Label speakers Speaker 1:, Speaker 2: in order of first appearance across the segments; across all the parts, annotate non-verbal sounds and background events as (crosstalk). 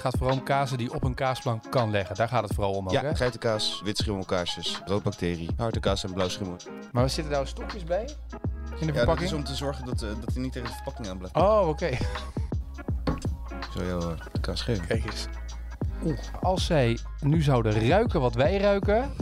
Speaker 1: gaat vooral om kazen die op een kaasplank kan leggen. Daar gaat het vooral om ook, hè?
Speaker 2: Ja, geitenkaas, wit schimmelkaasjes, roodbacterie, harde kaas en blauw schimmel.
Speaker 1: Maar we zitten daar stokjes bij? In
Speaker 2: Ja,
Speaker 1: de
Speaker 2: dat
Speaker 1: verpakking?
Speaker 2: is om te zorgen dat, eh, dat hij niet tegen de verpakking aan blijft.
Speaker 1: Oh, oké. (laughs)
Speaker 2: Zo jou eh, de kaas geven.
Speaker 1: Kijk eens. Oeh, als zij nu zouden ruiken wat wij ruiken.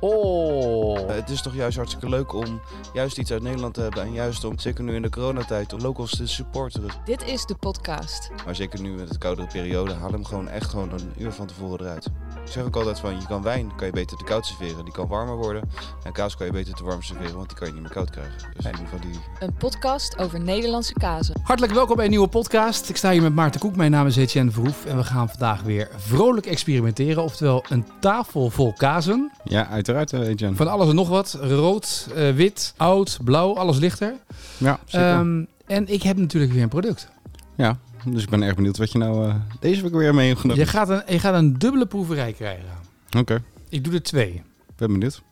Speaker 1: Oh.
Speaker 2: Eh, het is toch juist hartstikke leuk om juist iets uit Nederland te hebben. En juist om, zeker nu in de coronatijd, om locals te supporteren.
Speaker 3: Dit is de podcast.
Speaker 2: Maar zeker nu met het koudere periode, haal hem gewoon echt gewoon een uur van tevoren eruit. Ik zeg ook altijd van, je kan wijn, kan je beter te koud serveren. Die kan warmer worden. En kaas kan je beter te warm serveren, want die kan je niet meer koud krijgen. Dus in ieder geval die...
Speaker 3: Een podcast over Nederlandse kazen.
Speaker 4: Hartelijk welkom bij een nieuwe podcast. Ik sta hier met Maarten Koek. Mijn naam is Etienne Verhoef. En we gaan vandaag weer vrolijk experimenteren. Oftewel een tafel vol kazen.
Speaker 5: Ja, uiteraard, eh, Etienne.
Speaker 4: Van alles en nog wat. Rood, eh, wit, oud, blauw. Alles lichter.
Speaker 5: Ja, zeker.
Speaker 4: Ehm, en ik heb natuurlijk weer een product.
Speaker 5: ja, dus ik ben erg benieuwd wat je nou eh, deze week weer mee hebt genomen.
Speaker 4: Je gaat, een, je gaat een dubbele proeverij krijgen.
Speaker 5: Oké,
Speaker 4: Ik doe er twee.
Speaker 5: ben benieuwd.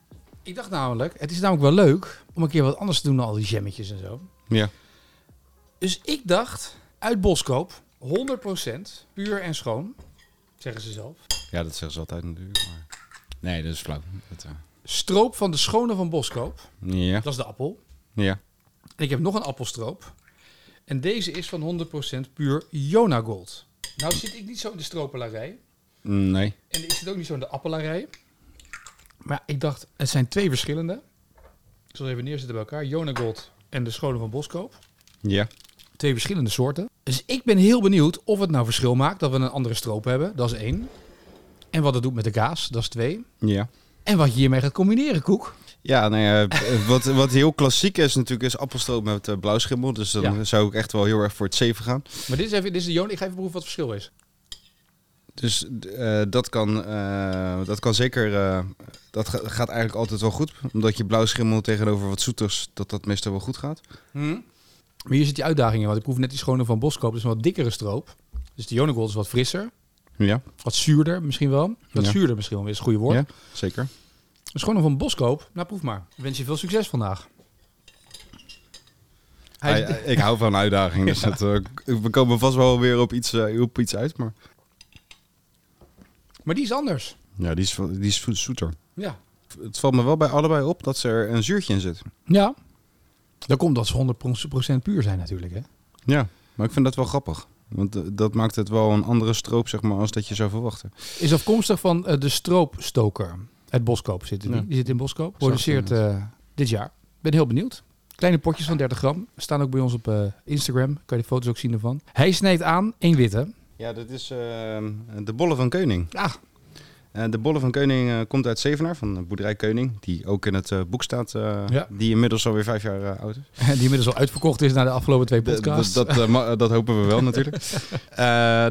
Speaker 4: Ik dacht namelijk, het is namelijk wel leuk om een keer wat anders te doen dan al die jammetjes en zo.
Speaker 5: Ja.
Speaker 4: Dus ik dacht, uit Boskoop, 100% puur en schoon, zeggen ze zelf.
Speaker 5: ja, dat zeggen ze altijd natuurlijk. Maar... Nee, dat is flauw. Dat, eh,
Speaker 4: Stroop van de schone van Boskoop,
Speaker 5: Ja,
Speaker 4: dat is de appel.
Speaker 5: ja.
Speaker 4: En ik heb nog een appelstroop. En deze is van 100% puur Jonagold. Nou zit ik niet zo in de stropelarij.
Speaker 5: Nee.
Speaker 4: En ik zit ook niet zo in de appelarij. Maar ik dacht, het zijn twee verschillende. Ik zal even neerzetten bij elkaar. Jonagold en de schone van Boskoop.
Speaker 5: Ja.
Speaker 4: Twee verschillende soorten. Dus ik ben heel benieuwd of het nou verschil maakt dat we een andere stroop hebben. Dat is één. En wat het doet met de kaas, dat is twee.
Speaker 5: Ja.
Speaker 4: En wat je hiermee gaat combineren, Koek.
Speaker 5: Ja, nou ja, eh, (laughs) wat, wat heel klassiek is natuurlijk is appelstroop met eh, blauwschimmel. Dus dan
Speaker 4: Ja.
Speaker 5: zou ik echt wel heel erg voor het zeven gaan.
Speaker 4: Maar dit is even, dit is de Jon. Ik ga even proeven wat het verschil is.
Speaker 5: Dus eh, dat, kan, eh, dat kan zeker. eh, dat ga- gaat eigenlijk altijd wel goed. Omdat je blauwschimmel tegenover wat zoeters, dat dat meestal wel goed gaat.
Speaker 4: Maar hier zit die uitdaging in, want ik proef net die schone van Boskoop. Dat is een wat dikkere stroop. Dus de Jonagold is wat frisser.
Speaker 5: Ja,
Speaker 4: Wat zuurder misschien wel. Wat
Speaker 5: Ja.
Speaker 4: zuurder misschien wel, is het goede woord.
Speaker 5: Ja. zeker.
Speaker 4: De schone van Boskoop, nou proef maar. Ik wens je veel succes vandaag. Hij is-
Speaker 5: Hij- hij- Ah, ik hou van uitdagingen, dus dat, eh, we komen vast wel weer op iets, eh, op iets uit. Maar
Speaker 4: Maar die is anders.
Speaker 5: ja, die is, wel- die is zo- zoeter.
Speaker 4: Ja.
Speaker 5: Het valt me wel bij allebei op dat ze er een zuurtje in zit.
Speaker 4: Ja. Dat komt dat ze 100% puur zijn natuurlijk, hè?
Speaker 5: Ja, maar ik vind dat wel grappig. Want eh, dat maakt het wel een andere stroop, zeg maar, als dat je zou verwachten.
Speaker 4: Is afkomstig van eh, de stroopstoker. Uit Boskoop zit het.
Speaker 5: Ja.
Speaker 4: Die zit in Boskoop. Produceert eh, dit jaar. Ben heel benieuwd. Kleine potjes van 30 gram. Staan ook bij ons op eh, Instagram. Kan je de foto's ook zien ervan. Hij snijdt aan één witte.
Speaker 5: Ja, dat is eh, de bollen van Keuning.
Speaker 4: Ah,
Speaker 5: Eh, de Bolle van Keuning eh, komt uit Zevenaar, van de boerderij Keuning, die ook in het eh, boek staat, eh,
Speaker 4: Ja.
Speaker 5: die inmiddels alweer vijf jaar eh, oud is.
Speaker 4: (laughs) die inmiddels al uitverkocht is na de afgelopen twee podcasts.
Speaker 5: Dat, dat, eh, ma- eh, dat hopen we wel (laughs) natuurlijk. Eh,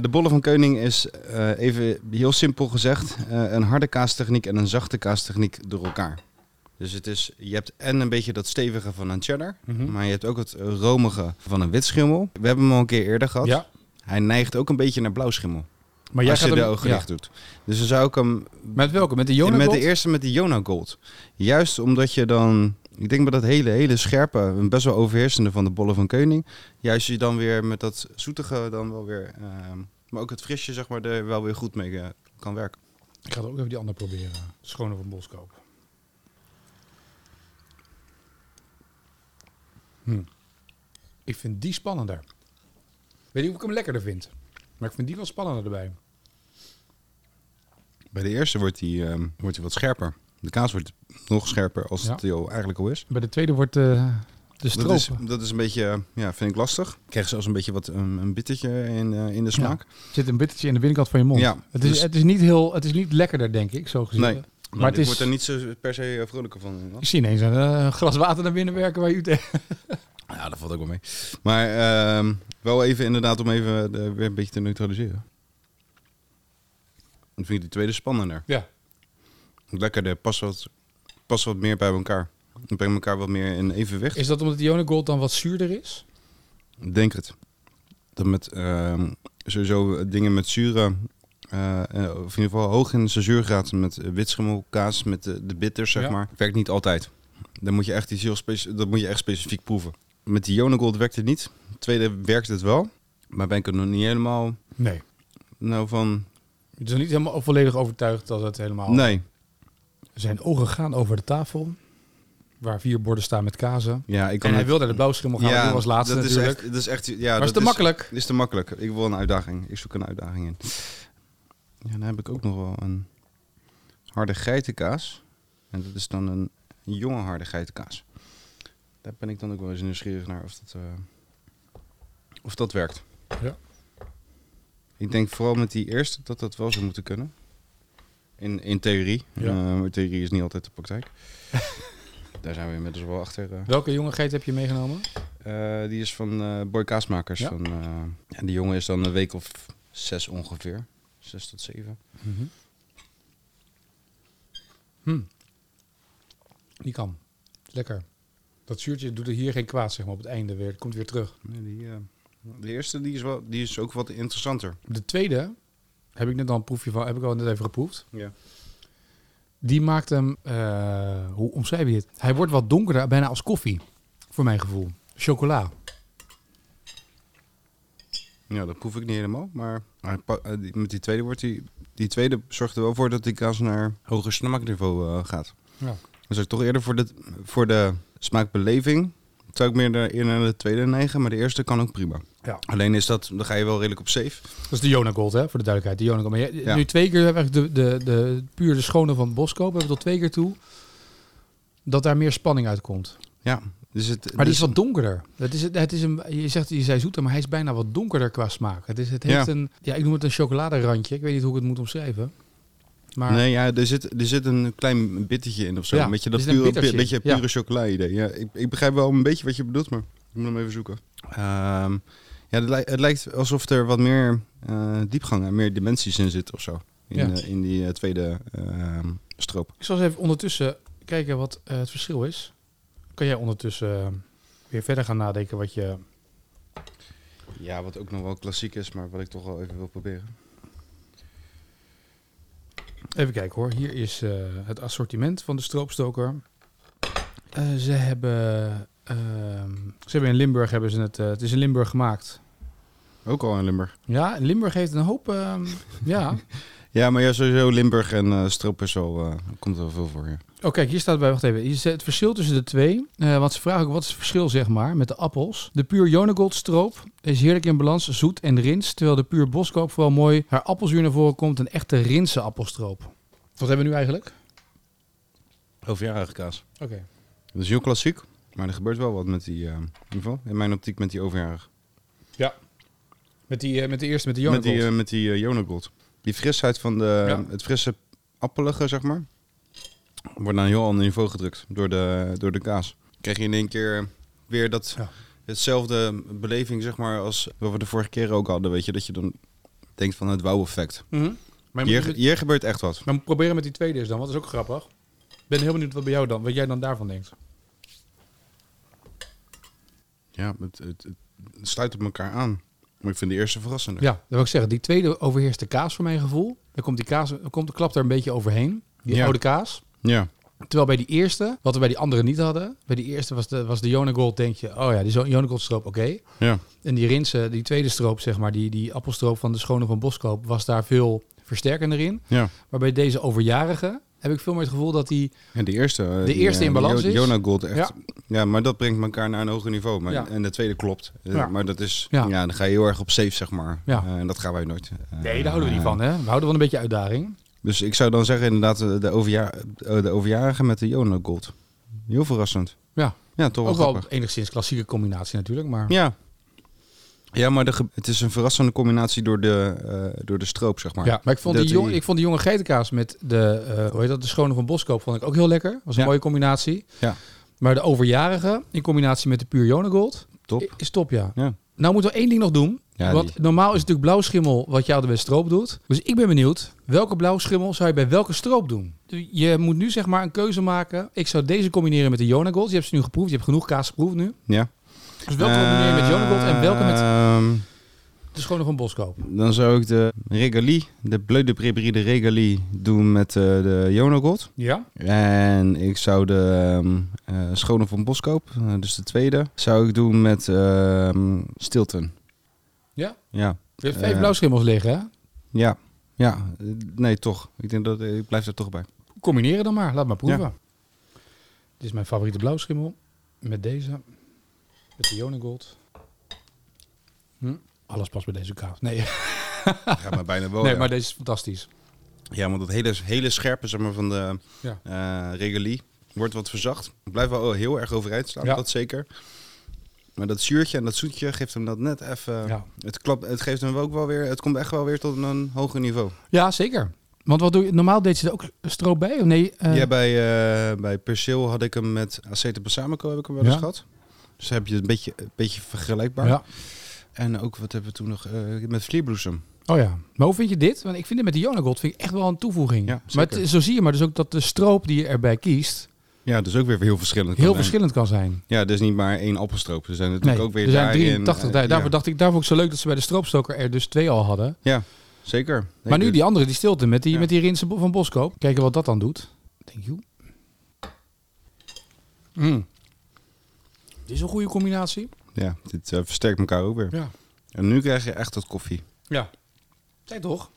Speaker 5: de Bolle van Keuning is, eh, even heel simpel gezegd, eh, een harde kaastechniek en een zachte kaastechniek door elkaar. Dus het is, je hebt en een beetje dat stevige van een cheddar,
Speaker 4: Mhm.
Speaker 5: maar je hebt ook het eh, romige van een wit schimmel. We hebben hem al een keer eerder gehad.
Speaker 4: Ja.
Speaker 5: Hij neigt ook een beetje naar blauw schimmel,
Speaker 4: Maar jij
Speaker 5: als je
Speaker 4: gaat
Speaker 5: de
Speaker 4: hem-
Speaker 5: ogen
Speaker 4: ja.
Speaker 5: dicht doet. Dus dan zou ik hem
Speaker 4: Met welke? Met de Jonas?
Speaker 5: Met de eerste, met die Jona Gold. Juist omdat je dan, ik denk met dat hele, hele scherpe, en best wel overheersende van de Bolle van Keuning. Juist je dan weer met dat zoetige dan wel weer, ehm, maar ook het frisje zeg maar, er wel weer goed mee eh, kan werken.
Speaker 4: Ik ga er ook even die andere proberen. Schone van Boskoop. Hm. Ik vind die spannender. Weet niet of ik hem lekkerder vind. Maar ik vind die wel spannender erbij.
Speaker 5: Bij de eerste wordt die, ehm, wordt die wat scherper. De kaas wordt nog scherper als
Speaker 4: Ja.
Speaker 5: het die al eigenlijk al is.
Speaker 4: Bij de tweede wordt eh, de stroop.
Speaker 5: Dat is, dat is een beetje, eh, ja, vind ik lastig. Ik krijg zelfs een beetje wat een, een bittertje in, eh, in de smaak.
Speaker 4: Zit een bittertje in de binnenkant van je mond.
Speaker 5: Ja,
Speaker 4: het, is,
Speaker 5: dus-
Speaker 4: het, is niet heel, het is niet lekkerder, denk ik, zo gezien.
Speaker 5: Nee.
Speaker 4: Maar
Speaker 5: Maar
Speaker 4: het
Speaker 5: ik
Speaker 4: is-
Speaker 5: word er niet zo per se eh, vrolijker van. inderdaad.
Speaker 4: Ik zie ineens een eh, glas water naar binnen werken waar je u tegen...
Speaker 5: Ja, dat valt ook wel mee. Maar ehm, wel even inderdaad om even eh, weer een beetje te neutraliseren. Dan vind ik die tweede spannender.
Speaker 4: (laughs) Ja.
Speaker 5: Lekkerder, past wat, past wat meer bij elkaar. Dan breng elkaar wat meer in evenwicht.
Speaker 4: Is dat omdat de Jonagold dan wat zuurder is?
Speaker 5: Ik Denk het. Dat met ehm, sowieso dingen met zure, eh, eh, of in ieder geval hoog in de zuurgraad met eh, witschimmelkaas, met de, de bitters zeg
Speaker 4: Ja.
Speaker 5: maar, werkt niet altijd. Dan moet je echt iets heel speci- dat moet je echt specifiek proeven. Met die Jonagold werkt het niet. Tweede werkt het wel, maar ben ik het nog niet helemaal
Speaker 4: Nee.
Speaker 5: nou van...
Speaker 4: Het is niet helemaal volledig overtuigd dat het helemaal...
Speaker 5: Nee.
Speaker 4: Zijn ogen gaan over de tafel, waar vier borden staan met kazen.
Speaker 5: Ja, ik kan
Speaker 4: En hij
Speaker 5: het-
Speaker 4: wil naar de blauwschimmel gaan, ja, als laatste
Speaker 5: dat is
Speaker 4: natuurlijk.
Speaker 5: echt, dat is echt, ja,
Speaker 4: maar
Speaker 5: dat
Speaker 4: is te makkelijk.
Speaker 5: Is te makkelijk. Ik wil een uitdaging. Ik zoek een uitdaging in. Ja, dan heb ik ook nog wel een harde geitenkaas. En dat is dan een jonge harde geitenkaas. Daar ben ik dan ook wel eens nieuwsgierig naar of dat, eh, of dat werkt.
Speaker 4: Ja.
Speaker 5: Ik denk vooral met die eerste dat dat wel zou moeten kunnen. In, in theorie.
Speaker 4: Ja.
Speaker 5: Eh, maar theorie is niet altijd de
Speaker 4: (laughs)
Speaker 5: praktijk. Daar zijn we inmiddels wel achter. eh.
Speaker 4: Welke jonge geit heb je meegenomen?
Speaker 5: Eh, die is van eh Boy Kaasmakers.
Speaker 4: Ja.
Speaker 5: Van, eh, en die jongen is dan een week of zes ongeveer. Zes tot zeven.
Speaker 4: Mhm. Hm. Die kan. Lekker. Dat zuurtje doet er hier geen kwaad, zeg maar, op het einde weer. Het komt weer terug.
Speaker 5: Nee, die, eh, de eerste die is, wel, die is ook wat interessanter.
Speaker 4: De tweede, heb ik net al een proefje van, heb ik al net even geproefd.
Speaker 5: Ja.
Speaker 4: Die maakt hem, eh, hoe omschrijf je het? Hij wordt wat donkerder, bijna als koffie, voor mijn gevoel. Chocola.
Speaker 5: ja, dat proef ik niet helemaal. Maar hij pa- eh, die- met die tweede wordt die, die tweede zorgt er wel voor dat die kaas naar hoger smaakniveau eh, gaat.
Speaker 4: Ja.
Speaker 5: Dus ik toch eerder voor de, voor de smaakbeleving. Zou ik meer naar, eerder naar de tweede neigen, maar de eerste kan ook prima.
Speaker 4: Ja.
Speaker 5: Alleen is dat, dan ga je wel redelijk op safe.
Speaker 4: Dat is de Jona Gold, hè, voor de duidelijkheid. De Jona Gold. Maar je-
Speaker 5: Ja.
Speaker 4: nu twee keer hebben we eigenlijk de, de, de puur de schone van Boskoop. We hebben tot twee keer toe dat daar meer spanning uitkomt.
Speaker 5: Ja, dus het,
Speaker 4: Maar die
Speaker 5: dus-
Speaker 4: is wat donkerder. Het is, het is een, je zegt, je zei zoeter, maar hij is bijna wat donkerder qua smaak. Het, is, het heeft
Speaker 5: Ja.
Speaker 4: een, ja, ik noem het een chocoladerandje. Ik weet niet hoe ik het moet omschrijven. Maar
Speaker 5: Nee, ja, er zit, er zit een klein bittertje in of zo.
Speaker 4: Ja,
Speaker 5: een beetje
Speaker 4: er
Speaker 5: dat
Speaker 4: zit een
Speaker 5: pure,
Speaker 4: bittertje
Speaker 5: bi- beetje
Speaker 4: in, ja.
Speaker 5: pure chocola-idee. Ja, ik, ik begrijp wel een beetje wat je bedoelt, maar ik moet hem even zoeken. Ehm, ja, het, lijkt, het lijkt alsof er wat meer eh, diepgang en meer dimensies in zit of zo. In,
Speaker 4: Ja.
Speaker 5: eh, in die eh, tweede ehm, stroop.
Speaker 4: ik zal eens even ondertussen kijken wat eh, het verschil is. Kan jij ondertussen eh, weer verder gaan nadenken wat je...
Speaker 5: Ja, wat ook nog wel klassiek is, maar wat ik toch wel even wil proberen.
Speaker 4: Even kijken hoor. Hier is eh, het assortiment van de stroopstoker. Eh, ze hebben... ehm, ze hebben in Limburg hebben ze het... eh, het is in Limburg gemaakt.
Speaker 5: Ook al in Limburg.
Speaker 4: Ja, in Limburg heeft een hoop... ehm, (laughs) ja.
Speaker 5: Ja, maar ja, sowieso Limburg en eh stroop is wel, eh, komt er wel veel voor. Ja.
Speaker 4: Oh, kijk, hier staat bij, wacht even. Hier zit het verschil tussen de twee. Eh want ze vragen ook, wat is het verschil, zeg maar, met de appels? De puur Jonegold stroop is heerlijk in balans, zoet en rins. Terwijl de puur Boskoop vooral mooi haar appelzuur naar voren komt. Een echte rinse appelstroop. Wat hebben we nu eigenlijk?
Speaker 5: Overjarige kaas.
Speaker 4: Oké.
Speaker 5: Dat is heel klassiek, maar er gebeurt wel wat met die, eh, in ieder geval in mijn optiek met die overjarig.
Speaker 4: Met, die, eh, met de eerste, met de
Speaker 5: Met
Speaker 4: Jonegold.
Speaker 5: die, eh, met die eh, Jonagold. Die frisheid van de,
Speaker 4: Ja.
Speaker 5: het frisse appelige, zeg maar, wordt naar een heel ander niveau gedrukt door de, door de kaas. Krijg je in één keer weer dat,
Speaker 4: Ja.
Speaker 5: hetzelfde beleving, zeg maar, als wat we de vorige keer ook hadden. Weet je, dat je dan denkt van het wauw-effect.
Speaker 4: Mhm. Maar je moet
Speaker 5: Hier,
Speaker 4: met-
Speaker 5: hier gebeurt echt wat.
Speaker 4: maar moet proberen met die tweede is dan, want dat is ook grappig. Ik ben heel benieuwd wat, bij jou dan, wat jij dan daarvan denkt.
Speaker 5: Ja, het, het, het sluit op elkaar aan. Maar ik vind de eerste verrassender.
Speaker 4: Ja, dat wil ik zeggen. Die tweede overheerst de kaas voor mijn gevoel. Dan komt die kaas, dan komt de klap er een beetje overheen. Die
Speaker 5: Ja.
Speaker 4: oude kaas.
Speaker 5: ja.
Speaker 4: Terwijl bij die eerste, wat we bij die andere niet hadden, bij die eerste was de, was de Jonegold, denk je, oh ja, die zo- Jonegold stroop, oké.
Speaker 5: ja.
Speaker 4: En die Rinse, die tweede stroop, zeg maar, die, die appelstroop van de Schone van Boskoop, was daar veel versterkender in.
Speaker 5: ja.
Speaker 4: Maar bij deze overjarige heb ik veel meer het gevoel dat die,
Speaker 5: Ja, de eerste. eh,
Speaker 4: De
Speaker 5: die,
Speaker 4: eerste
Speaker 5: eh,
Speaker 4: in balans
Speaker 5: Jo-
Speaker 4: is.
Speaker 5: Jonah Gold echt. Ja.
Speaker 4: Ja.
Speaker 5: maar dat brengt elkaar naar een hoger niveau. Maar,
Speaker 4: Ja.
Speaker 5: En de tweede klopt. Eh,
Speaker 4: Ja.
Speaker 5: Maar dat is, ja.
Speaker 4: Ja.
Speaker 5: dan ga je heel erg op safe, zeg maar.
Speaker 4: Ja.
Speaker 5: Eh, en dat gaan wij nooit. Eh,
Speaker 4: nee, daar houden we niet van, hè. We houden van een beetje uitdaging.
Speaker 5: Dus ik zou dan zeggen inderdaad eh, de, overja eh, de overjarige met de Jonah Gold. Heel verrassend.
Speaker 4: Ja,
Speaker 5: Ja, toch wel
Speaker 4: ook wel
Speaker 5: grappig.
Speaker 4: enigszins klassieke combinatie natuurlijk, maar
Speaker 5: Ja. Ja, maar de ge- het is een verrassende combinatie door de, eh, door de stroop, zeg maar.
Speaker 4: ja, maar ik vond, die
Speaker 5: Dat
Speaker 4: jonge, ik vond die jonge geitenkaas met de, eh, hoe heet dat, de schone van Boskoop vond ik ook heel lekker. Was een
Speaker 5: Ja.
Speaker 4: mooie combinatie.
Speaker 5: Ja.
Speaker 4: Maar de overjarige in combinatie met de puur Jonegold
Speaker 5: Top.
Speaker 4: is top, ja.
Speaker 5: Ja.
Speaker 4: Nou moeten we één ding nog doen.
Speaker 5: Ja,
Speaker 4: want
Speaker 5: die-
Speaker 4: normaal is het natuurlijk blauwschimmel wat jou de beste stroop doet. Dus ik ben benieuwd, welke blauwschimmel zou je bij welke stroop doen? Je moet nu zeg maar een keuze maken. Ik zou deze combineren met de Jonagold. Je hebt ze nu geproefd. Je hebt genoeg kaas geproefd nu.
Speaker 5: ja.
Speaker 4: Dus
Speaker 5: Eh,
Speaker 4: welke combineer je met Jonagold en welke met
Speaker 5: Ehm,
Speaker 4: de Schone van Boskoop?
Speaker 5: Dan zou ik de Regalie, de Bleu de Prairie de Regalie doen met eh, de Jonah Gold.
Speaker 4: Ja?
Speaker 5: En ik zou de ehm, eh, Schone van Boskoop, eh, dus de tweede, zou ik doen met ehm Stilton.
Speaker 4: Ja?
Speaker 5: Ja.
Speaker 4: Je hebt vijf
Speaker 5: Eh.
Speaker 4: blauwschimmels liggen, hè?
Speaker 5: Ja, ja. eh, Nee, toch. Ik, denk dat, eh, ik blijf daar toch
Speaker 4: (laughs)
Speaker 5: bij.
Speaker 4: Combineren dan maar. Laat maar proeven. Dit is mijn favoriete blauwschimmel. Met deze. Met de Jonegold. Hm? Alles past bij deze kaas. Nee,
Speaker 5: Gaat mij bijna boven.
Speaker 4: (laughs) nee maar deze is fantastisch.
Speaker 5: Ja, want dat hele, hele scherpe zeg maar, van de
Speaker 4: Ja.
Speaker 5: eh regulier wordt wat verzacht. Het Blijft wel heel erg overeind staan,
Speaker 4: Ja.
Speaker 5: dat zeker. Maar dat zuurtje en dat zoetje geeft hem dat net even...
Speaker 4: Ja.
Speaker 5: Het, klapt, het geeft hem ook wel weer... Het komt echt wel weer tot een hoger niveau.
Speaker 4: ja, zeker. Want wat doe je? Normaal deed je er ook stroop bij? Of nee? eh,
Speaker 5: ja, bij, eh bij Perceel had ik hem met Acete Balsamico heb ik hem wel
Speaker 4: Ja.
Speaker 5: eens gehad. Dus heb je het een beetje, een beetje vergelijkbaar.
Speaker 4: ja.
Speaker 5: En ook, wat hebben we toen nog? eh, met Vlierbloesem.
Speaker 4: Oh ja. Maar hoe vind je dit? Want ik vind het met de Jonegold vind ik echt wel een toevoeging.
Speaker 5: Ja,
Speaker 4: maar
Speaker 5: zeker.
Speaker 4: het- zo zie je maar dus ook dat de stroop die je erbij kiest
Speaker 5: Ja, dus ook weer heel verschillend. kan
Speaker 4: heel
Speaker 5: zijn.
Speaker 4: verschillend kan zijn.
Speaker 5: Ja, dus niet maar één appelstroop. Er zijn natuurlijk
Speaker 4: Nee,
Speaker 5: ook weer
Speaker 4: er zijn
Speaker 5: daarin,
Speaker 4: 83.
Speaker 5: eh,
Speaker 4: daarvoor
Speaker 5: ja.
Speaker 4: dacht ik, daarvoor ook zo leuk dat ze bij de stroopstoker er dus twee al hadden.
Speaker 5: Zeker. Nee,
Speaker 4: maar nu
Speaker 5: dus-
Speaker 4: die andere, die stilte met die,
Speaker 5: Ja.
Speaker 4: met die rinsen van Boskoop. Kijken wat dat dan doet. Thank you. Mm. Dit is een goede combinatie.
Speaker 5: Ja, dit eh, versterkt elkaar ook weer.
Speaker 4: Ja.
Speaker 5: En nu krijg je echt dat koffie.
Speaker 4: Ja. Zij toch?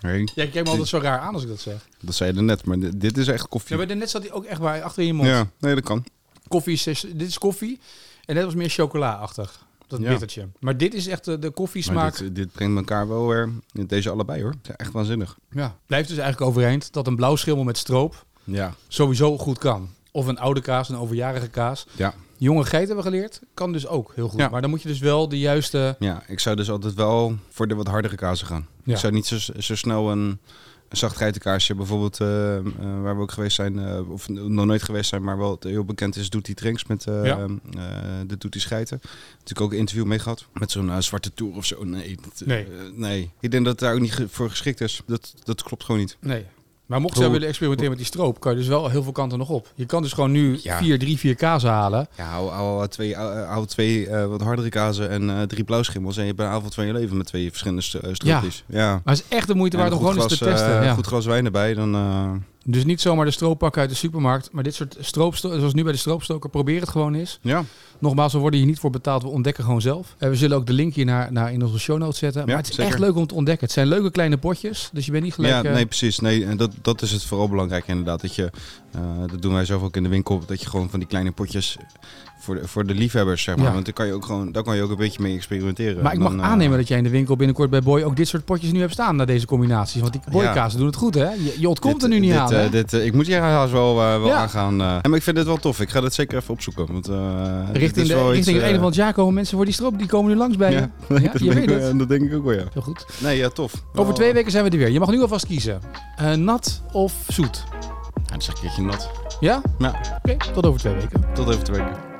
Speaker 5: Nee,
Speaker 4: Jij kijkt me altijd zo raar aan als ik dat zeg.
Speaker 5: dat zei je net, maar dit, dit is echt koffie.
Speaker 4: Ja, maar net zat hij ook echt waar achter in je mond.
Speaker 5: Ja, nee, dat kan.
Speaker 4: Koffie is, is- dit is koffie. En net was meer chocola-achtig. Dat
Speaker 5: Ja.
Speaker 4: bittertje. Maar dit is echt de, de
Speaker 5: Maar
Speaker 4: koffiesmaak.
Speaker 5: dit, dit brengt elkaar wel weer, deze allebei hoor. Ja, echt waanzinnig.
Speaker 4: Ja. Blijft dus eigenlijk overeind dat een blauw schimmel met stroop
Speaker 5: Ja.
Speaker 4: sowieso goed kan. Of een oude kaas, een overjarige kaas.
Speaker 5: Ja.
Speaker 4: Jonge geit hebben we geleerd. Kan dus ook heel goed.
Speaker 5: Ja.
Speaker 4: Maar dan moet je dus wel de juiste...
Speaker 5: ja, ik zou dus altijd wel voor de wat hardere kazen gaan.
Speaker 4: Ja.
Speaker 5: Ik zou niet zo, zo snel een, een zacht geitenkaasje, bijvoorbeeld eh, eh, waar we ook geweest zijn, eh, of nog nooit geweest zijn, maar wel het heel bekend is, doet die drinks met eh,
Speaker 4: Ja.
Speaker 5: eh, de doet die scheiten. Natuurlijk ook een interview mee gehad met zo'n eh, zwarte tour of zo. Nee, dat, eh,
Speaker 4: Nee.
Speaker 5: eh, nee, ik denk dat het daar ook niet ge- voor geschikt is. Dat, dat klopt gewoon niet.
Speaker 4: Nee. Maar mocht zij
Speaker 5: Hoe-
Speaker 4: willen experimenteren met die stroop, kan je dus wel heel veel kanten nog op. Je kan dus gewoon nu
Speaker 5: Ja.
Speaker 4: vier, drie, vier kazen halen.
Speaker 5: Ja, hou, hou twee, hou, hou twee eh, wat hardere kazen en eh, drie blauwschimmels en je hebt een avond van je leven met twee verschillende st- eh, stroopjes. ja.
Speaker 4: Maar het is echt de moeite waard
Speaker 5: En
Speaker 4: om
Speaker 5: een
Speaker 4: gewoon
Speaker 5: goed
Speaker 4: eens te
Speaker 5: glas,
Speaker 4: testen.
Speaker 5: eh,
Speaker 4: ja.
Speaker 5: Goed glas wijn erbij, dan... eh,
Speaker 4: Dus niet zomaar de stroop pakken uit de supermarkt. Maar dit soort stroopstoker, zoals nu bij de stroopstoker, probeer het gewoon eens.
Speaker 5: ja.
Speaker 4: Nogmaals, we worden hier niet voor betaald. We ontdekken gewoon zelf. En we zullen ook de link hier naar, naar in onze show notes zetten. maar
Speaker 5: Ja,
Speaker 4: het is
Speaker 5: zeker.
Speaker 4: echt leuk om te ontdekken. Het zijn leuke kleine potjes. Dus je bent niet
Speaker 5: ja,
Speaker 4: gelijk... eh,
Speaker 5: nee, precies. Nee, en dat, dat is het vooral belangrijk inderdaad. Dat, je, eh, dat doen wij zelf ook in de winkel. Dat je gewoon van die kleine potjes voor de, voor de liefhebbers, zeg maar.
Speaker 4: Ja.
Speaker 5: Want daar kan je ook gewoon daar kan je ook een beetje mee experimenteren.
Speaker 4: Maar ik mag
Speaker 5: Dan, eh,
Speaker 4: aannemen dat jij in de winkel binnenkort bij Boy ook dit soort potjes nu hebt staan na deze combinaties. Want die Boy-kazen doen het goed, hè? Je, je ontkomt
Speaker 5: dit-
Speaker 4: er nu niet
Speaker 5: dit,
Speaker 4: aan,
Speaker 5: eh,
Speaker 4: hè?
Speaker 5: dit, eh, ik moet hier haast wel, eh, wel
Speaker 4: Ja.
Speaker 5: aangaan. eh. maar ik vind dit wel tof. Ik ga dit zeker even opzoeken. Want, eh, dit
Speaker 4: Richting,
Speaker 5: is
Speaker 4: de,
Speaker 5: wel
Speaker 4: richting
Speaker 5: iets,
Speaker 4: het
Speaker 5: eh,
Speaker 4: einde van het jaar komen mensen voor die stroop. Die komen nu langs bij
Speaker 5: Ja, (laughs)
Speaker 4: je. Ja,
Speaker 5: dat,
Speaker 4: je
Speaker 5: denk
Speaker 4: weet
Speaker 5: ik, wel-
Speaker 4: het.
Speaker 5: dat denk ik ook wel, ja.
Speaker 4: Heel goed.
Speaker 5: Nee, ja, tof. Eh,
Speaker 4: Over
Speaker 5: Wel-
Speaker 4: twee weken zijn we er weer. Je mag nu alvast kiezen. Eh, nat of zoet?
Speaker 5: Ja, dat is een keertje nat.
Speaker 4: Ja?
Speaker 5: Ja.
Speaker 4: Oké, tot over twee weken.
Speaker 5: Tot over twee weken.